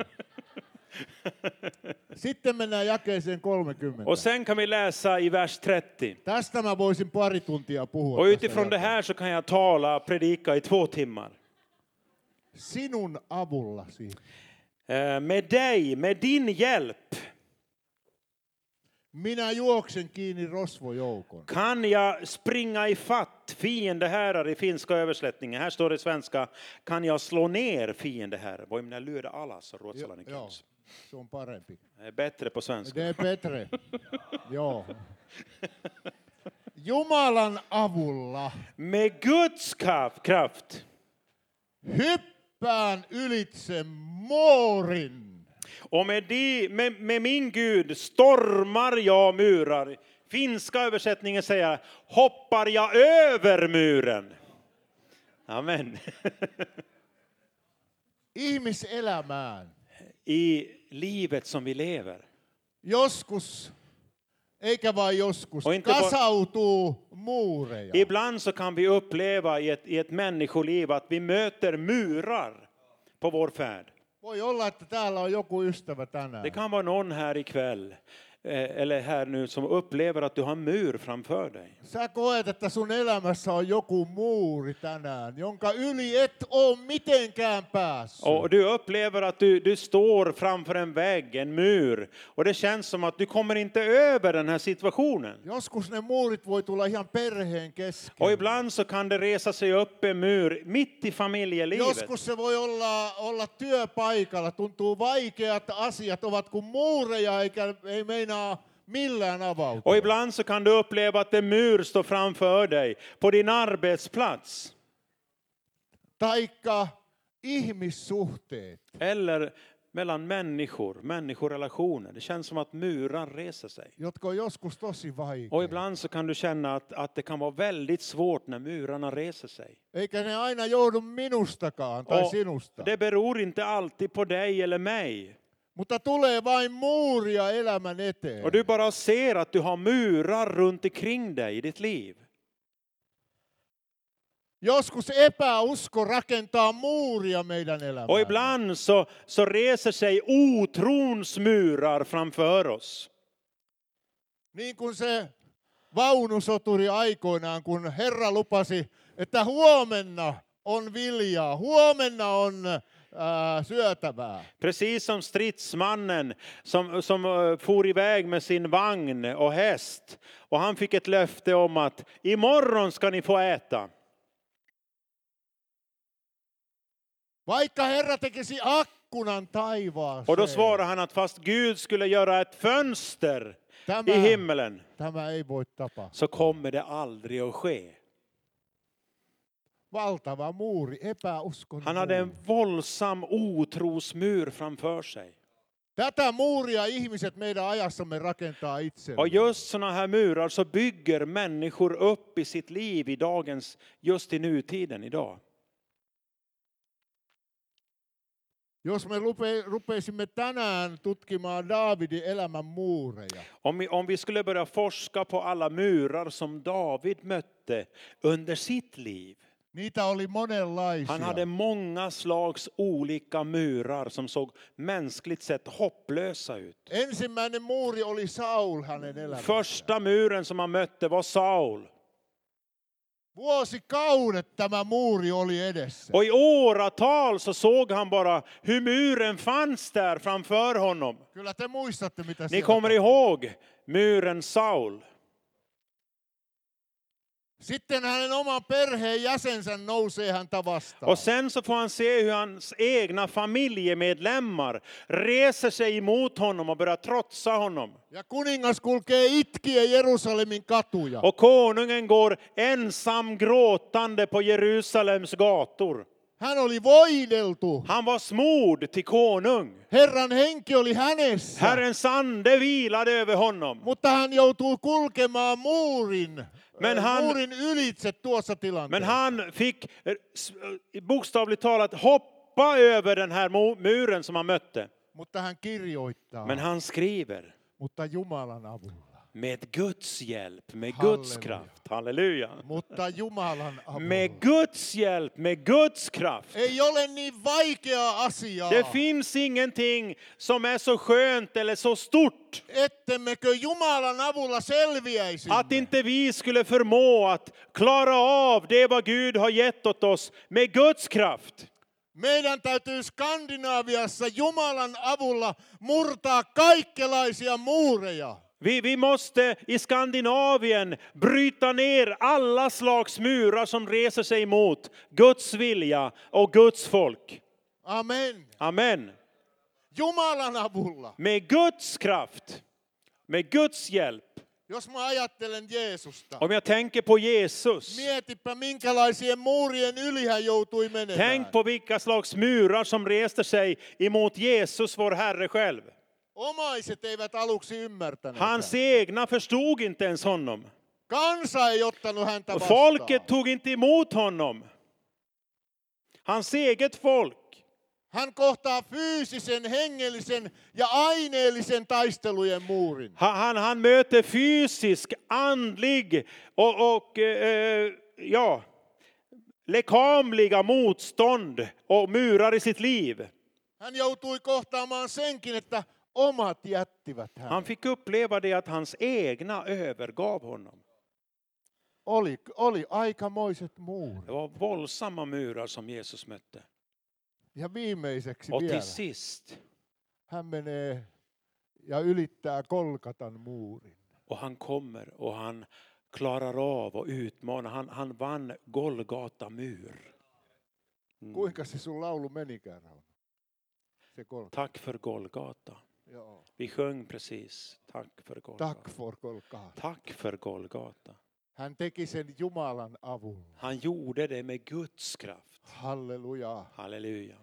Sitten mennään jakeeseen 30. Och sen kan vi läsa i vers 30. Tästä mä voisin pari tuntia puhua. Och tästä utifrån det jakeesta. här så kan jag tala, predika i två timmar. Sinun avullasi, Eh, Med dig, med din hjälp, minä juoksen kiinni rosvojoukon. kan jag springa i fatt fiendeherrar i finska översättningen. Här står det i svenska, kan jag slå ner fiendeherrar. Voi minä lyödä alas, on ruotsalainen Joo, käännös. se on parempi. Jag är bättre på svenska. De Petre. Joo. Jumalan avulla Med Guds kraft- kraft hyppään ylitse moorin. och med, di, med, med min Gud stormar jag murar. Finska översättningen säger hoppar jag över muren. Amen. Ihmiselämään. I livet som vi lever. Joskus, eikä vain joskus, Oi, inte vaan- kasautuu muureja. Ibland så kan vi uppleva i ett, i ett människoliv att vi möter murar på vår färd. Voi olla, että täällä on joku ystävä tänään. Det kan vara någon här ikväll eh, eller här nu som upplever att du har en mur framför dig. Sä koet, että sun elämässä on joku muuri tänään, jonka yli et oo mitenkään päässyt. Och du upplever att du, du står framför en vägg, en mur, och det känns som att du kommer inte över den här situationen. Joskus ne muurit voi tulla ihan perheen kesken. Och ibland så kan det resa sig upp en mur mitt i familjelivet. Joskus se voi olla, olla työpaikalla. Tuntuu vaikeat asiat ovat kuin muureja, eikä ei meinaa millään avautua. Och ibland så kan du uppleva att en mur står framför dig på din arbetsplats Taikka ihmissuhteet. eller mellan människor, människorelationer. Det känns som att murar reser sig. jotka on joskus tosi Och vaikeita. ibland så kan du känna att, att det kan vara väldigt svårt när murarna reser sig. Eikä ne aina joudu minustakaan tai Och sinusta. det beror inte alltid på dig eller mig. Mutta tulee vain muuria elämän eteen. Och du bara ser att du har murar runt omkring dig i ditt liv. Joskus epäusko rakentaa muuria meidän Och elämään. ibland så, så reser sig otrons murar framför oss. Niin kuin se vaunusoturi aikoinaan, kun Herra lupasi, että huomenna on viljaa, huomenna on ää, syötävää. Precis som stridsmannen som, som eh, for iväg med sin vagn och häst. Och han fick ett löfte om att imorgon ska ni få äta. Vaikka Herra tekisi akkunan taivaaseen, Och då svarade han att fast Gud skulle göra ett fönster i tämä, himmelen tämä ei voi tapahtua. så kommer det aldrig att ske. Valtava muuri, epäuskon Han hade en muuri. våldsam otrosmur framför sig. Tätä muuria ihmiset meidän ajassamme rakentaa itselleen. Och just sådana här murar så bygger människor upp i sitt liv i dagens, just i nutiden idag. Jos me rupe, rupeisimme tänään tutkimaan Daavidin elämän muureja, Om vi, om vi skulle börja forska på alla murar som David mötte under sitt liv. niitä oli monenlaisia. Han hade många slags olika murar som såg mänskligt sett hopplösa ut. Ensimmäinen muuri oli Saul hänen elämässään. Första muren som han mötte var Saul. Vuosikaudet tämä muuri oli edessä. Och i åratal så såg han bara hur muren fanns där framför honom. Kyllä te muistatte, mitä Ni siellä kommer tapahtui. ihåg muren Saul. Sitten hänen oman perheen jäsensä nousee häntä vastaan. Och sen så får han se hur hans egna familjemedlemmar reser sig emot honom och börjar trotsa honom. Ja kuningas kulkee itkien Jerusalemin katuja. Och konungen går ensam gråtande på Jerusalems gator. Hän oli voideltu. Han var smord till konung. Herran henki oli hänessä. Herrens ande vilade över honom. Mutta hän joutuu kulkemaan muurin, Men äh, hän- muurin ylitse tuossa Men tilanteessa. han fick eh, s- eh, bokstavligt talat hoppa över den här mo- muren som han mötte. Mutta hän kirjoittaa, Men han skriver mutta Jumalan avulla. med Guds hjälp, med Guds Halleluja. kraft. Halleluja. Mutta Jumalan avulla. Med Guds hjälp, med Guds kraft. Ei ole niin vaikeaa asiaa, Det finns ingenting som är så skönt eller så stort ettemmekö Jumalan avulla selviäisi. att inte vi skulle förmå att klara av det vad Gud har gett åt oss med Guds kraft. Meidän täytyy Skandinaaviassa Jumalan avulla murtaa kaikenlaisia muureja. Vi, vi måste i Skandinavien bryta ner alla slags murar som reser sig emot Guds vilja och Guds folk. Amen. Amen. Jumalan avulla. Med Guds kraft, med Guds hjälp. Jos mä ajattelen Jeesusta, Om jag tänker på Jesus, mietipä minkälaisien muurien yli hän joutui menemään. tänk på vilka slags murar som reste sig emot Jesus, vår Herre själv. Omaiset eivät aluksi ymmärtäneet. Hans egna förstod inte ens honom. Kansa ei ottanut häntä vastaan. Folket tog inte emot honom. Hans eget folk. Hän kohtaa fyysisen, hengellisen ja aineellisen taistelujen muurin. Han, han, han möter fysisk, andlig och, och eh, eh, ja, lekamliga motstånd och murar i sitt liv. Hän joutui kohtaamaan senkin, että omat jättivät hän. Han fick uppleva det att hans egna övergav honom. Oli, oli aikamoiset muurit. Det var våldsamma murar som Jesus mötte. Ja viimeiseksi Och vielä. till sist, Hän menee ja ylittää Kolkatan muurin. och han kommer och han klarar av och utmanar. Han, han vann Golgata mur. Kuinka se sun laulu menikään, Rauno? Se Kolkata. Tack för Golgata. Joo. Vi sjöng precis. Tack för Golgata. Tack for Kolkata. Tack för Golgata. Hän teki sen Jumalan avulla. Han gjorde det med Guds kraft. Halleluja. Halleluja.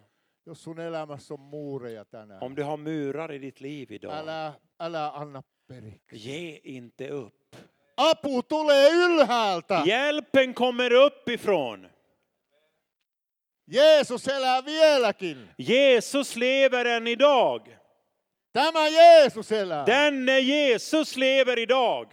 Jos sun elämässä on muureja tänään, Om du har murar i ditt liv idag, älä, älä anna periksi. ge inte upp. Apu tulee ylhäältä. Hjälpen kommer uppifrån. Jeesus elää vieläkin. Jesus lever än idag. Tämä Jeesus elää. Denne Jesus lever idag.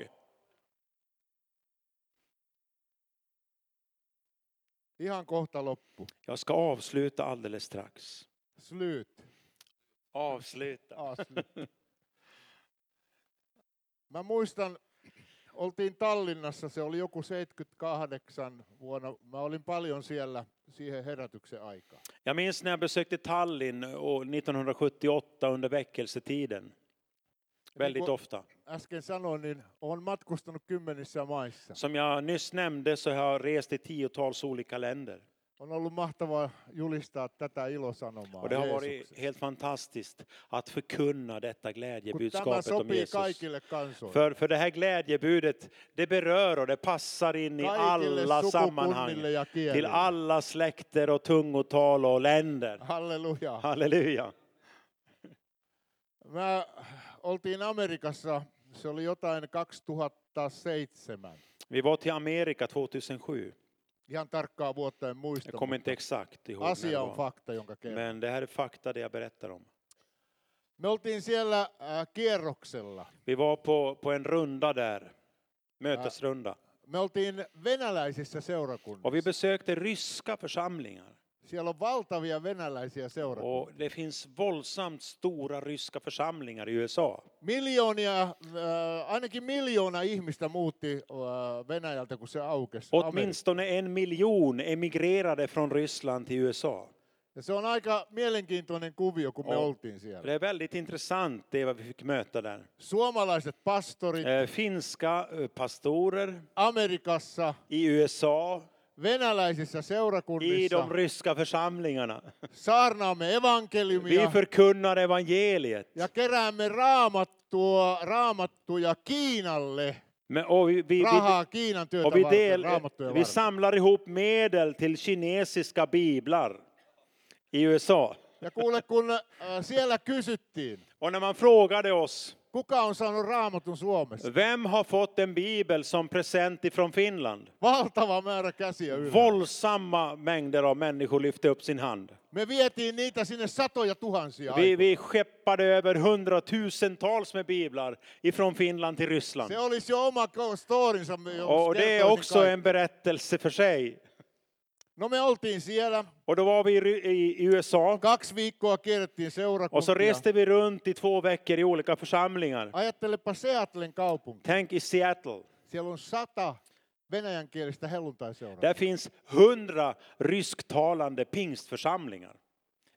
Ihan kohta loppu. Jag ska avsluta alldeles strax. Slyt. Avsluta. Asli. Mä muistan, oltiin Tallinnassa, se oli joku 78 vuonna. Mä olin paljon siellä siihen herätyksen aikaan. Jag minns när jag besökte Tallinn år 1978 under väckelsetiden. Väldigt ofta. Äsken sanoin, niin olen matkustanut kymmenissä maissa. Som jag nyss nämnde så har jag rest i tiotals olika länder. On ollut mahtavaa julistaa tätä ilosanomaa Och det har varit Jeesuksesta. helt fantastiskt att förkunna Kun tämä detta glädjebudskapet om sopii Jesus. kaikille kansoille, För, för det här glädjebudet, det berör och det passar in i kaikille alla sammanhang. sukukunnille ja Till kielille. alla släkter och tungotal och länder. Halleluja. Halleluja. Mä oltiin Amerikassa, se oli jotain 2007. Vi var till Amerika 2007. Ihan tarkkaa vuotta en muista. Jag kommer inte exakt ihåg när det Asia on var. fakta, jonka kerron. Men det här är fakta det jag berättar om. Me oltiin siellä äh, kierroksella. Vi var på, på en runda där, mötesrunda. Me oltiin venäläisissä Och vi seurakunnissa. besökte ryska församlingar. Siellä on valtavia venäläisiä seurakuntia. Och det finns våldsamt stora ryska församlingar i USA. Miljoonia, äh, ainakin miljoona ihmistä muutti äh, Venäjältä, kun se aukesi. Amerikkaan. Åtminstone en miljon emigrerade från Ryssland till USA. Ja se on aika mielenkiintoinen kuvio, kun me On. oltiin siellä. Det är väldigt intressant det vad vi fick möta där. Suomalaiset pastorit Eh, Finska eh, pastorer Amerikassa, i USA, venäläisissä i seurakunnissa, de ryska församlingarna. saarnaamme Vi evankeliumia förkunnar evangeliet. ja keräämme raamattua, raamattuja Kiinalle, Men, och vi, vi, vi, rahaa Kiinan työtä och vi, varten, del, raamattuja vi varten. samlar ihop medel till kinesiska biblar i USA. Ja kuule, kun äh, siellä kysyttiin, Och när man frågade oss, kuka on saanut raamatun Suomessa? vem har fått en bibel som present ifrån Finland? Valtava määrä käsiä yllä. Våldsamma mängder av människor lyfte upp sin hand. Me vietiin niitä sinne satoja tuhansia. Vi, vi skeppade över hundratusentals med biblar ifrån Finland till Ryssland. Se olisi jo oma ko- storinsa, me- jos Och det är kertoisin också en kaikki. berättelse för sig. No me oltiin siellä, Och då var vi i Ry- i USA kaksi viikkoa kierrettiin och så seurakuntia. reste vi runt i två veckor i olika församlingar. Ajattelepa Seattlein kaupunki. Tänk i Seattle. Siellä on sata venäjänkielistä helluntaiseuraa. Där finns hundra rysktalande pingstförsamlingar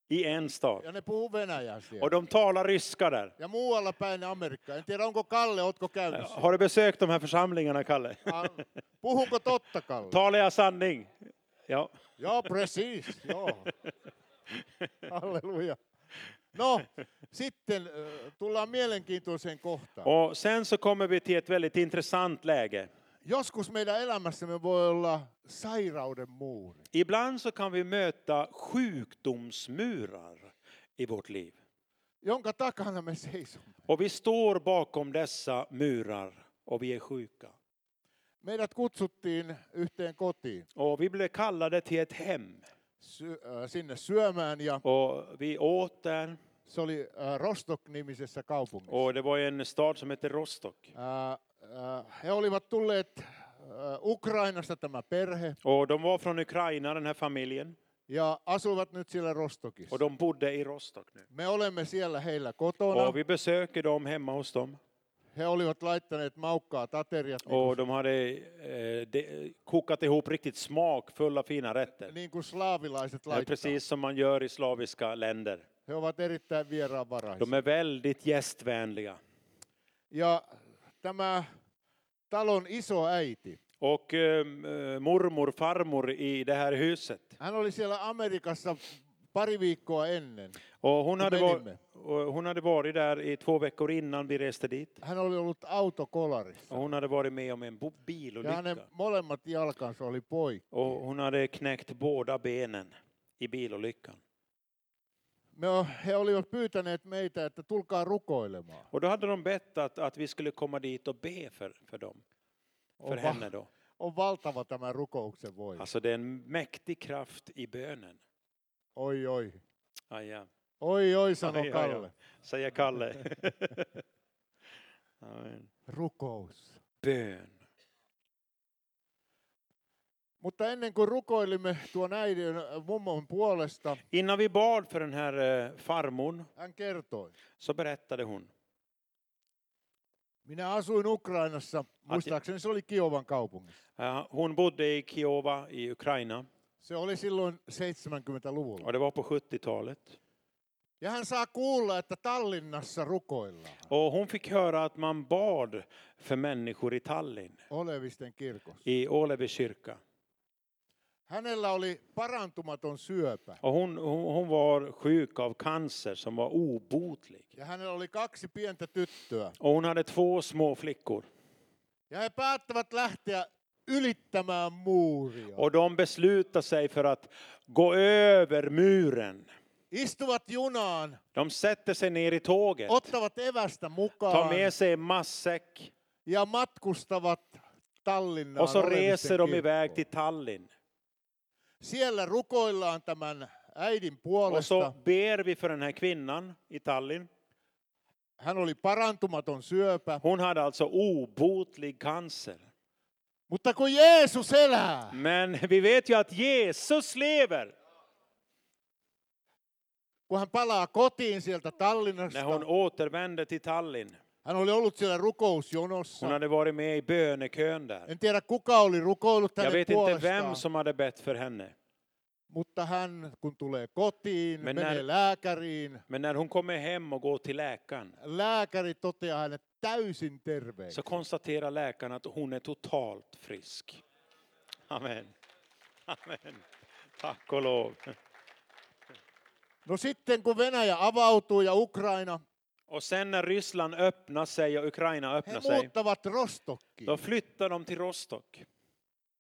i en stad. Ja ne puhuu venäjää Och siellä. de talar ryska där. Ja muualla päin Amerikkaa. En tiedä, onko Kalle, ootko käynyt siellä? Har du besökt de här församlingarna, Kalle? Ah, Puhunko totta, Kalle? Talar jag sanning? Ja. Joo, precis. Joo. Halleluja. No, sitten ö, tullaan mielenkiintoiseen kohtaan. Och sen så kommer vi till ett väldigt intressant läge. Joskus meidän elämässämme voi olla sairauden muuri. Ibland så kan vi möta sjukdomsmurar i vårt liv. jonka takana me seisomme. Och vi står bakom dessa murar och vi är sjuka. Meidät kutsuttiin yhteen kotiin Och vi blev kallade till ett hem. sy- äh, sinne syömään ja Och vi åt där. se oli äh, Rostok-nimisessä kaupungissa. Och det var ju en stad som heter Rostock. Äh, äh, he olivat tulleet äh, Ukrainasta tämä perhe Och de var från Ukraina, den här familjen. ja asuvat nyt siellä Rostokissa. Och de bodde i Rostock nu. Me olemme siellä heillä kotona. Och vi besöker dem hemma hos dem. He olivat laittaneet maukkaa ateriat niin Och kuin, de hade eh, de, kokat ihop riktigt smakfulla fina rätter. niin kuin slaavilaiset Eh, laittaa. Precis som man gör i slaviska länder. He ovat erittäin vieraanvaraisia. De är väldigt gästvänliga. Ja tämä talon isoäiti, Och eh, mormor, farmor i det här huset. Hän oli siellä Amerikassa pari viikkoa ennen. Och hon, hade var, menimme. och hon hade varit där i två veckor innan vi reste dit. Hän oli ollut autokolarissa. Och hon hade varit med om en bo- Ja hänen bilolycka. molemmat jalkansa oli poikki. Och hon hade knäckt båda benen i bilolyckan. Me, o- he olivat pyytäneet meitä, että tulkaa rukoilemaan. Och då hade de bett att, att vi skulle komma dit och be för, för dem. För On, va- henne då. on valtava tämä rukouksen voima. Alltså det är en mäktig kraft i bönen. Oi, oi. Ah, ja. Oi, oi, sanoi Ai, ai, ai. Kalle. Säger Kalle. Amen. Rukous. Bön. Mutta ennen kuin rukoilimme tuon äidin äh, mummon puolesta, Innan vi bad för den här eh, farmorn hän kertoi. så berättade hon. Minä asuin Ukrainassa, muistaakseni se oli Kiovan kaupungissa. Eh, Hon bodde i Kiova i Ukraina Se oli silloin 70-luvulla. och det var på 70-talet. Ja hän saa kuulla, että Tallinnassa rukoillaan Och hon fick höra att man bad för människor i Tallinn, Olevisten kirkossa. i Ålevi kyrka. Hänellä oli parantumaton syöpä Och hon, hon, hon var sjuk av cancer som var obotlig. ja hänellä oli kaksi pientä tyttöä. Och hon hade två små flickor. Ja he päättävät lähteä ylittämään muuria Och de beslutade sig för att gå över muren istuvat junaan, De sätter sig ner i tåget, ottavat evästä tar mukaan med sig en matsäck ja matkustavat Tallinnaan. och så Olemisen reser de kirkkoon. iväg till Tallinn. Siellä rukoillaan tämän äidin Och puolesta. så ber vi för den här kvinnan i Tallinn. Hän oli parantumaton syöpä. Hon hade alltså obotlig cancer. Mutta kun Jeesus elää, Men vi vet ju att Jesus lever. kun hän palaa kotiin sieltä Tallinnasta, När hon återvände till Tallinn. hän oli ollut siellä rukousjonossa. Hon hade varit med i bönekön där. En tiedä kuka oli rukoillut Jag hänen vet inte vem puolestaan, som hade bett för henne. mutta hän kun tulee kotiin, Men menee när- lääkäriin, Men när hon kommer hem och går till läkaren lääkäri toteaa hänet täysin terveeksi. så konstaterar läkaren att hon är totalt frisk. Amen. Amen. Tack och lov. No sitten kun Venäjä avautuu ja Ukraina, Och sen när Ryssland öppnar sig och Ukraina he öppnar sig, muuttavat Rostokkiin. då flyttar de till Rostock.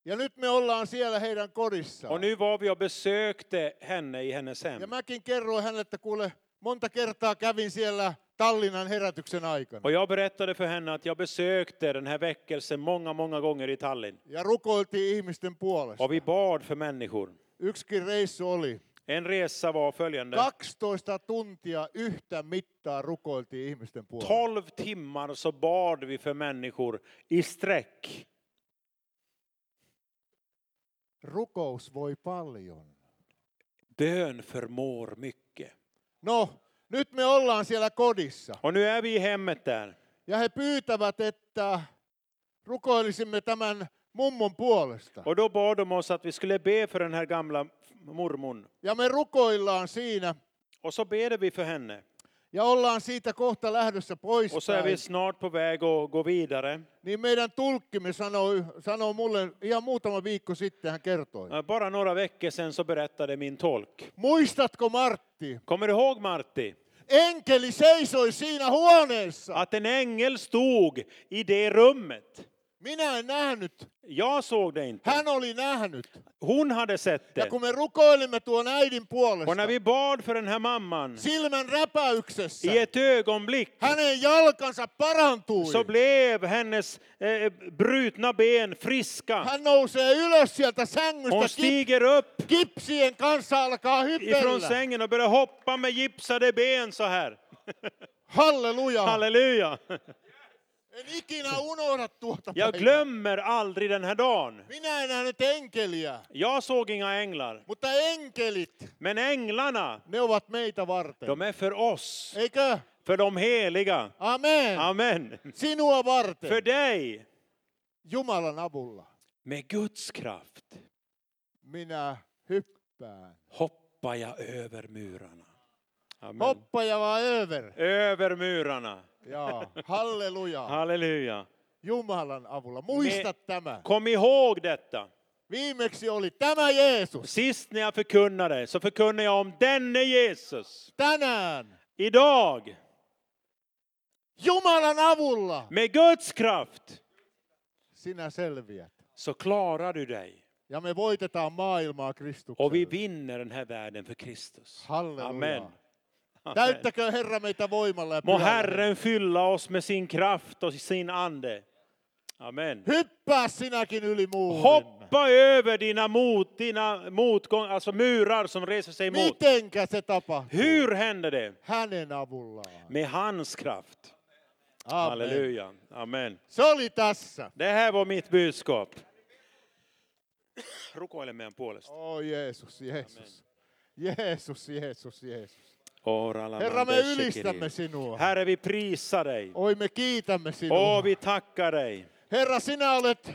Ja nyt me ollaan siellä heidän kodissaan. Och nu var vi och besökte henne i hennes Ja hem. mäkin kerroin hänelle, että kuule, monta kertaa kävin siellä Tallinnan herätyksen aikana. Och jag berättade för henne att jag besökte den här väckelsen många, många gånger i Tallinn. Ja rukoiltiin ihmisten puolesta. Och vi bad för människor. Yksikin reissu oli. En resa var följande. 12 tuntia yhtä mittaa rukoiltiin ihmisten puolesta. 12 timmar så bad vi för människor i sträck. Rukous voi paljon. Bön förmår mycket. No, nyt me ollaan siellä kodissa. Och nu är vi i hemmet där. Ja he pyytävät, että rukoilisimme tämän mummon puolesta. Och då bad de oss att vi skulle be för den här gamla mormon. Ja me rukoillaan siinä Och så ber vi för henne. ja ollaan siitä kohta lähdössä pois. Och så är vi snart på väg att gå vidare. Niin meidän tulkkimme sanoi, sanoi mulle ihan muutama viikko sitten, hän kertoi. Eh, Bara några veckor sedan så berättade min tolk. Muistatko Martti, Kommer du ihåg Martti? enkeli seisoi siinä huoneessa. Att en ängel stod i det rummet. Minä en nähnyt, Jag såg det inte. hän oli nähnyt. Hon hade sett Ja det. kun me rukoilimme tuon äidin Och när puolesta, vi bad för den här mamman silmän räpäyksessä, i ett ögonblick hänen jalkansa parantui. så blev hennes eh, brutna ben friska. Hän nousee ylös sieltä sängystä, Hon kip, stiger upp kipsien kanssa alkaa ifrån hypellä. sängen och börjar hoppa med gipsade ben så här. Halleluja! Halleluja! En ikinä unohda tuota Jag päivää. glömmer aldrig den här dagen. Minä en nähnyt enkeliä, Jag såg inga änglar, mutta enkelit, men änglarna, ne ovat meitä varten. de är för oss, Eikö? för de heliga. Amen. Amen. Sinua varten. För dig, Jumalan avulla med Guds kraft, minä hyppään. hoppar jag över murarna. Amen. Hoppa ja vaan över. Över murarna. Jaa. Halleluja. Halleluja. Jumalan avulla. Muista Me- tämä. Kom ihåg detta. Viimeksi oli tämä Jeesus. Sist när jag förkunnade så förkunnade jag om denne Jesus. Tänään Idag, Jumalan avulla med Guds kraft, sinä selviät. så klarar du dig. Ja me voitetaan maailmaa Och vi Kristuksella. vinner den här världen för Kristus. Halleluja. Amen. Amen. Täyttäkö Herra meitä voimalla ja Må pyhällä. Herren fylla oss med sin kraft och sin ande. Amen. Hyppää sinäkin yli muurin. Hoppa över dina, mot, dina motgång, alltså murar som reser sig emot. Mitenkä se tapahtuu? Hur händer det? Hänen avullaan. Med hans kraft. Amen. Halleluja. Amen. Se oli tässä. Det här var mitt budskap. Rukoile meidän puolesta. Oh Jeesus, Jeesus. Jeesus, Jeesus, Jeesus. Orala Herra, me mandeshe ylistämme kiri. sinua. Herre, vi prisar dig. Oi, me kiitämme sinua. Åh, vi tackar dig. Herra, sinä olet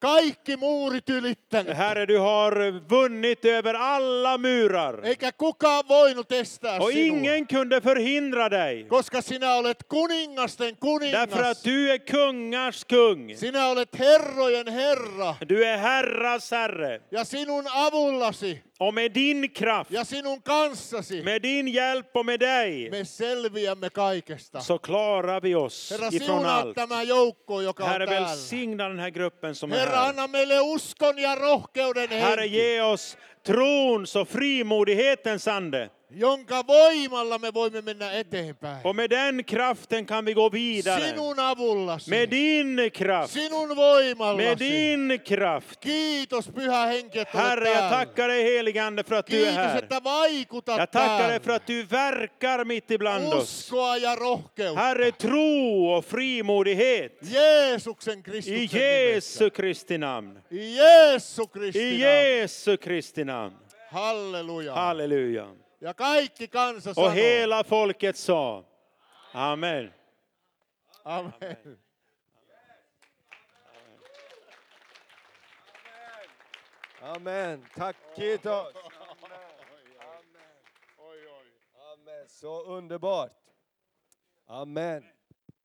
kaikki muurit ylittänyt. Herre, du har vunnit över alla murar. Eikä kukaan voinut estää Och sinua. ingen kunde förhindra dig. Koska sinä olet kuningasten Därför kuningas. att du är kungars kung. Sinä olet herrojen herra. Du är herras herre. Ja sinun avullasi Och med din kraft, ja sinun kanssasi med din hjälp och med dig me selviämme kaikesta. så klarar vi oss Herra, ifrån siunaa allt. tämä joukko, joka on Herre, täällä. välsigna den här gruppen som är Herra, här. anna meille uskon ja rohkeuden Herre, henki. ge oss trons och frimodighetens ande. jonka voimalla me voimme mennä eteenpäin. Och med den kraften kan vi gå vidare. Sinun avullasi, Med din kraft. sinun Med voimallasi. din kraft. Kiitos, Pyhä Henki, että olet Herre, jag täällä. tackar dig heligande för att du är Kiitos, här. että vaikutat Jag tackar dig för täällä. att du verkar mitt ibland oss. Uskoa ja rohkeutta. Herre, tro och frimodighet. Jeesuksen I Kristuksen Jesu Kristi namn. nimessä. I Jeesu I Kristin namn. Jesu Kristi namn. Halleluja. Halleluja. Ja kaikki kansa sanoo. Och hela folket sa. Amen. Amen. Amen. Tack, kiitos. Amen. Så underbart. Amen.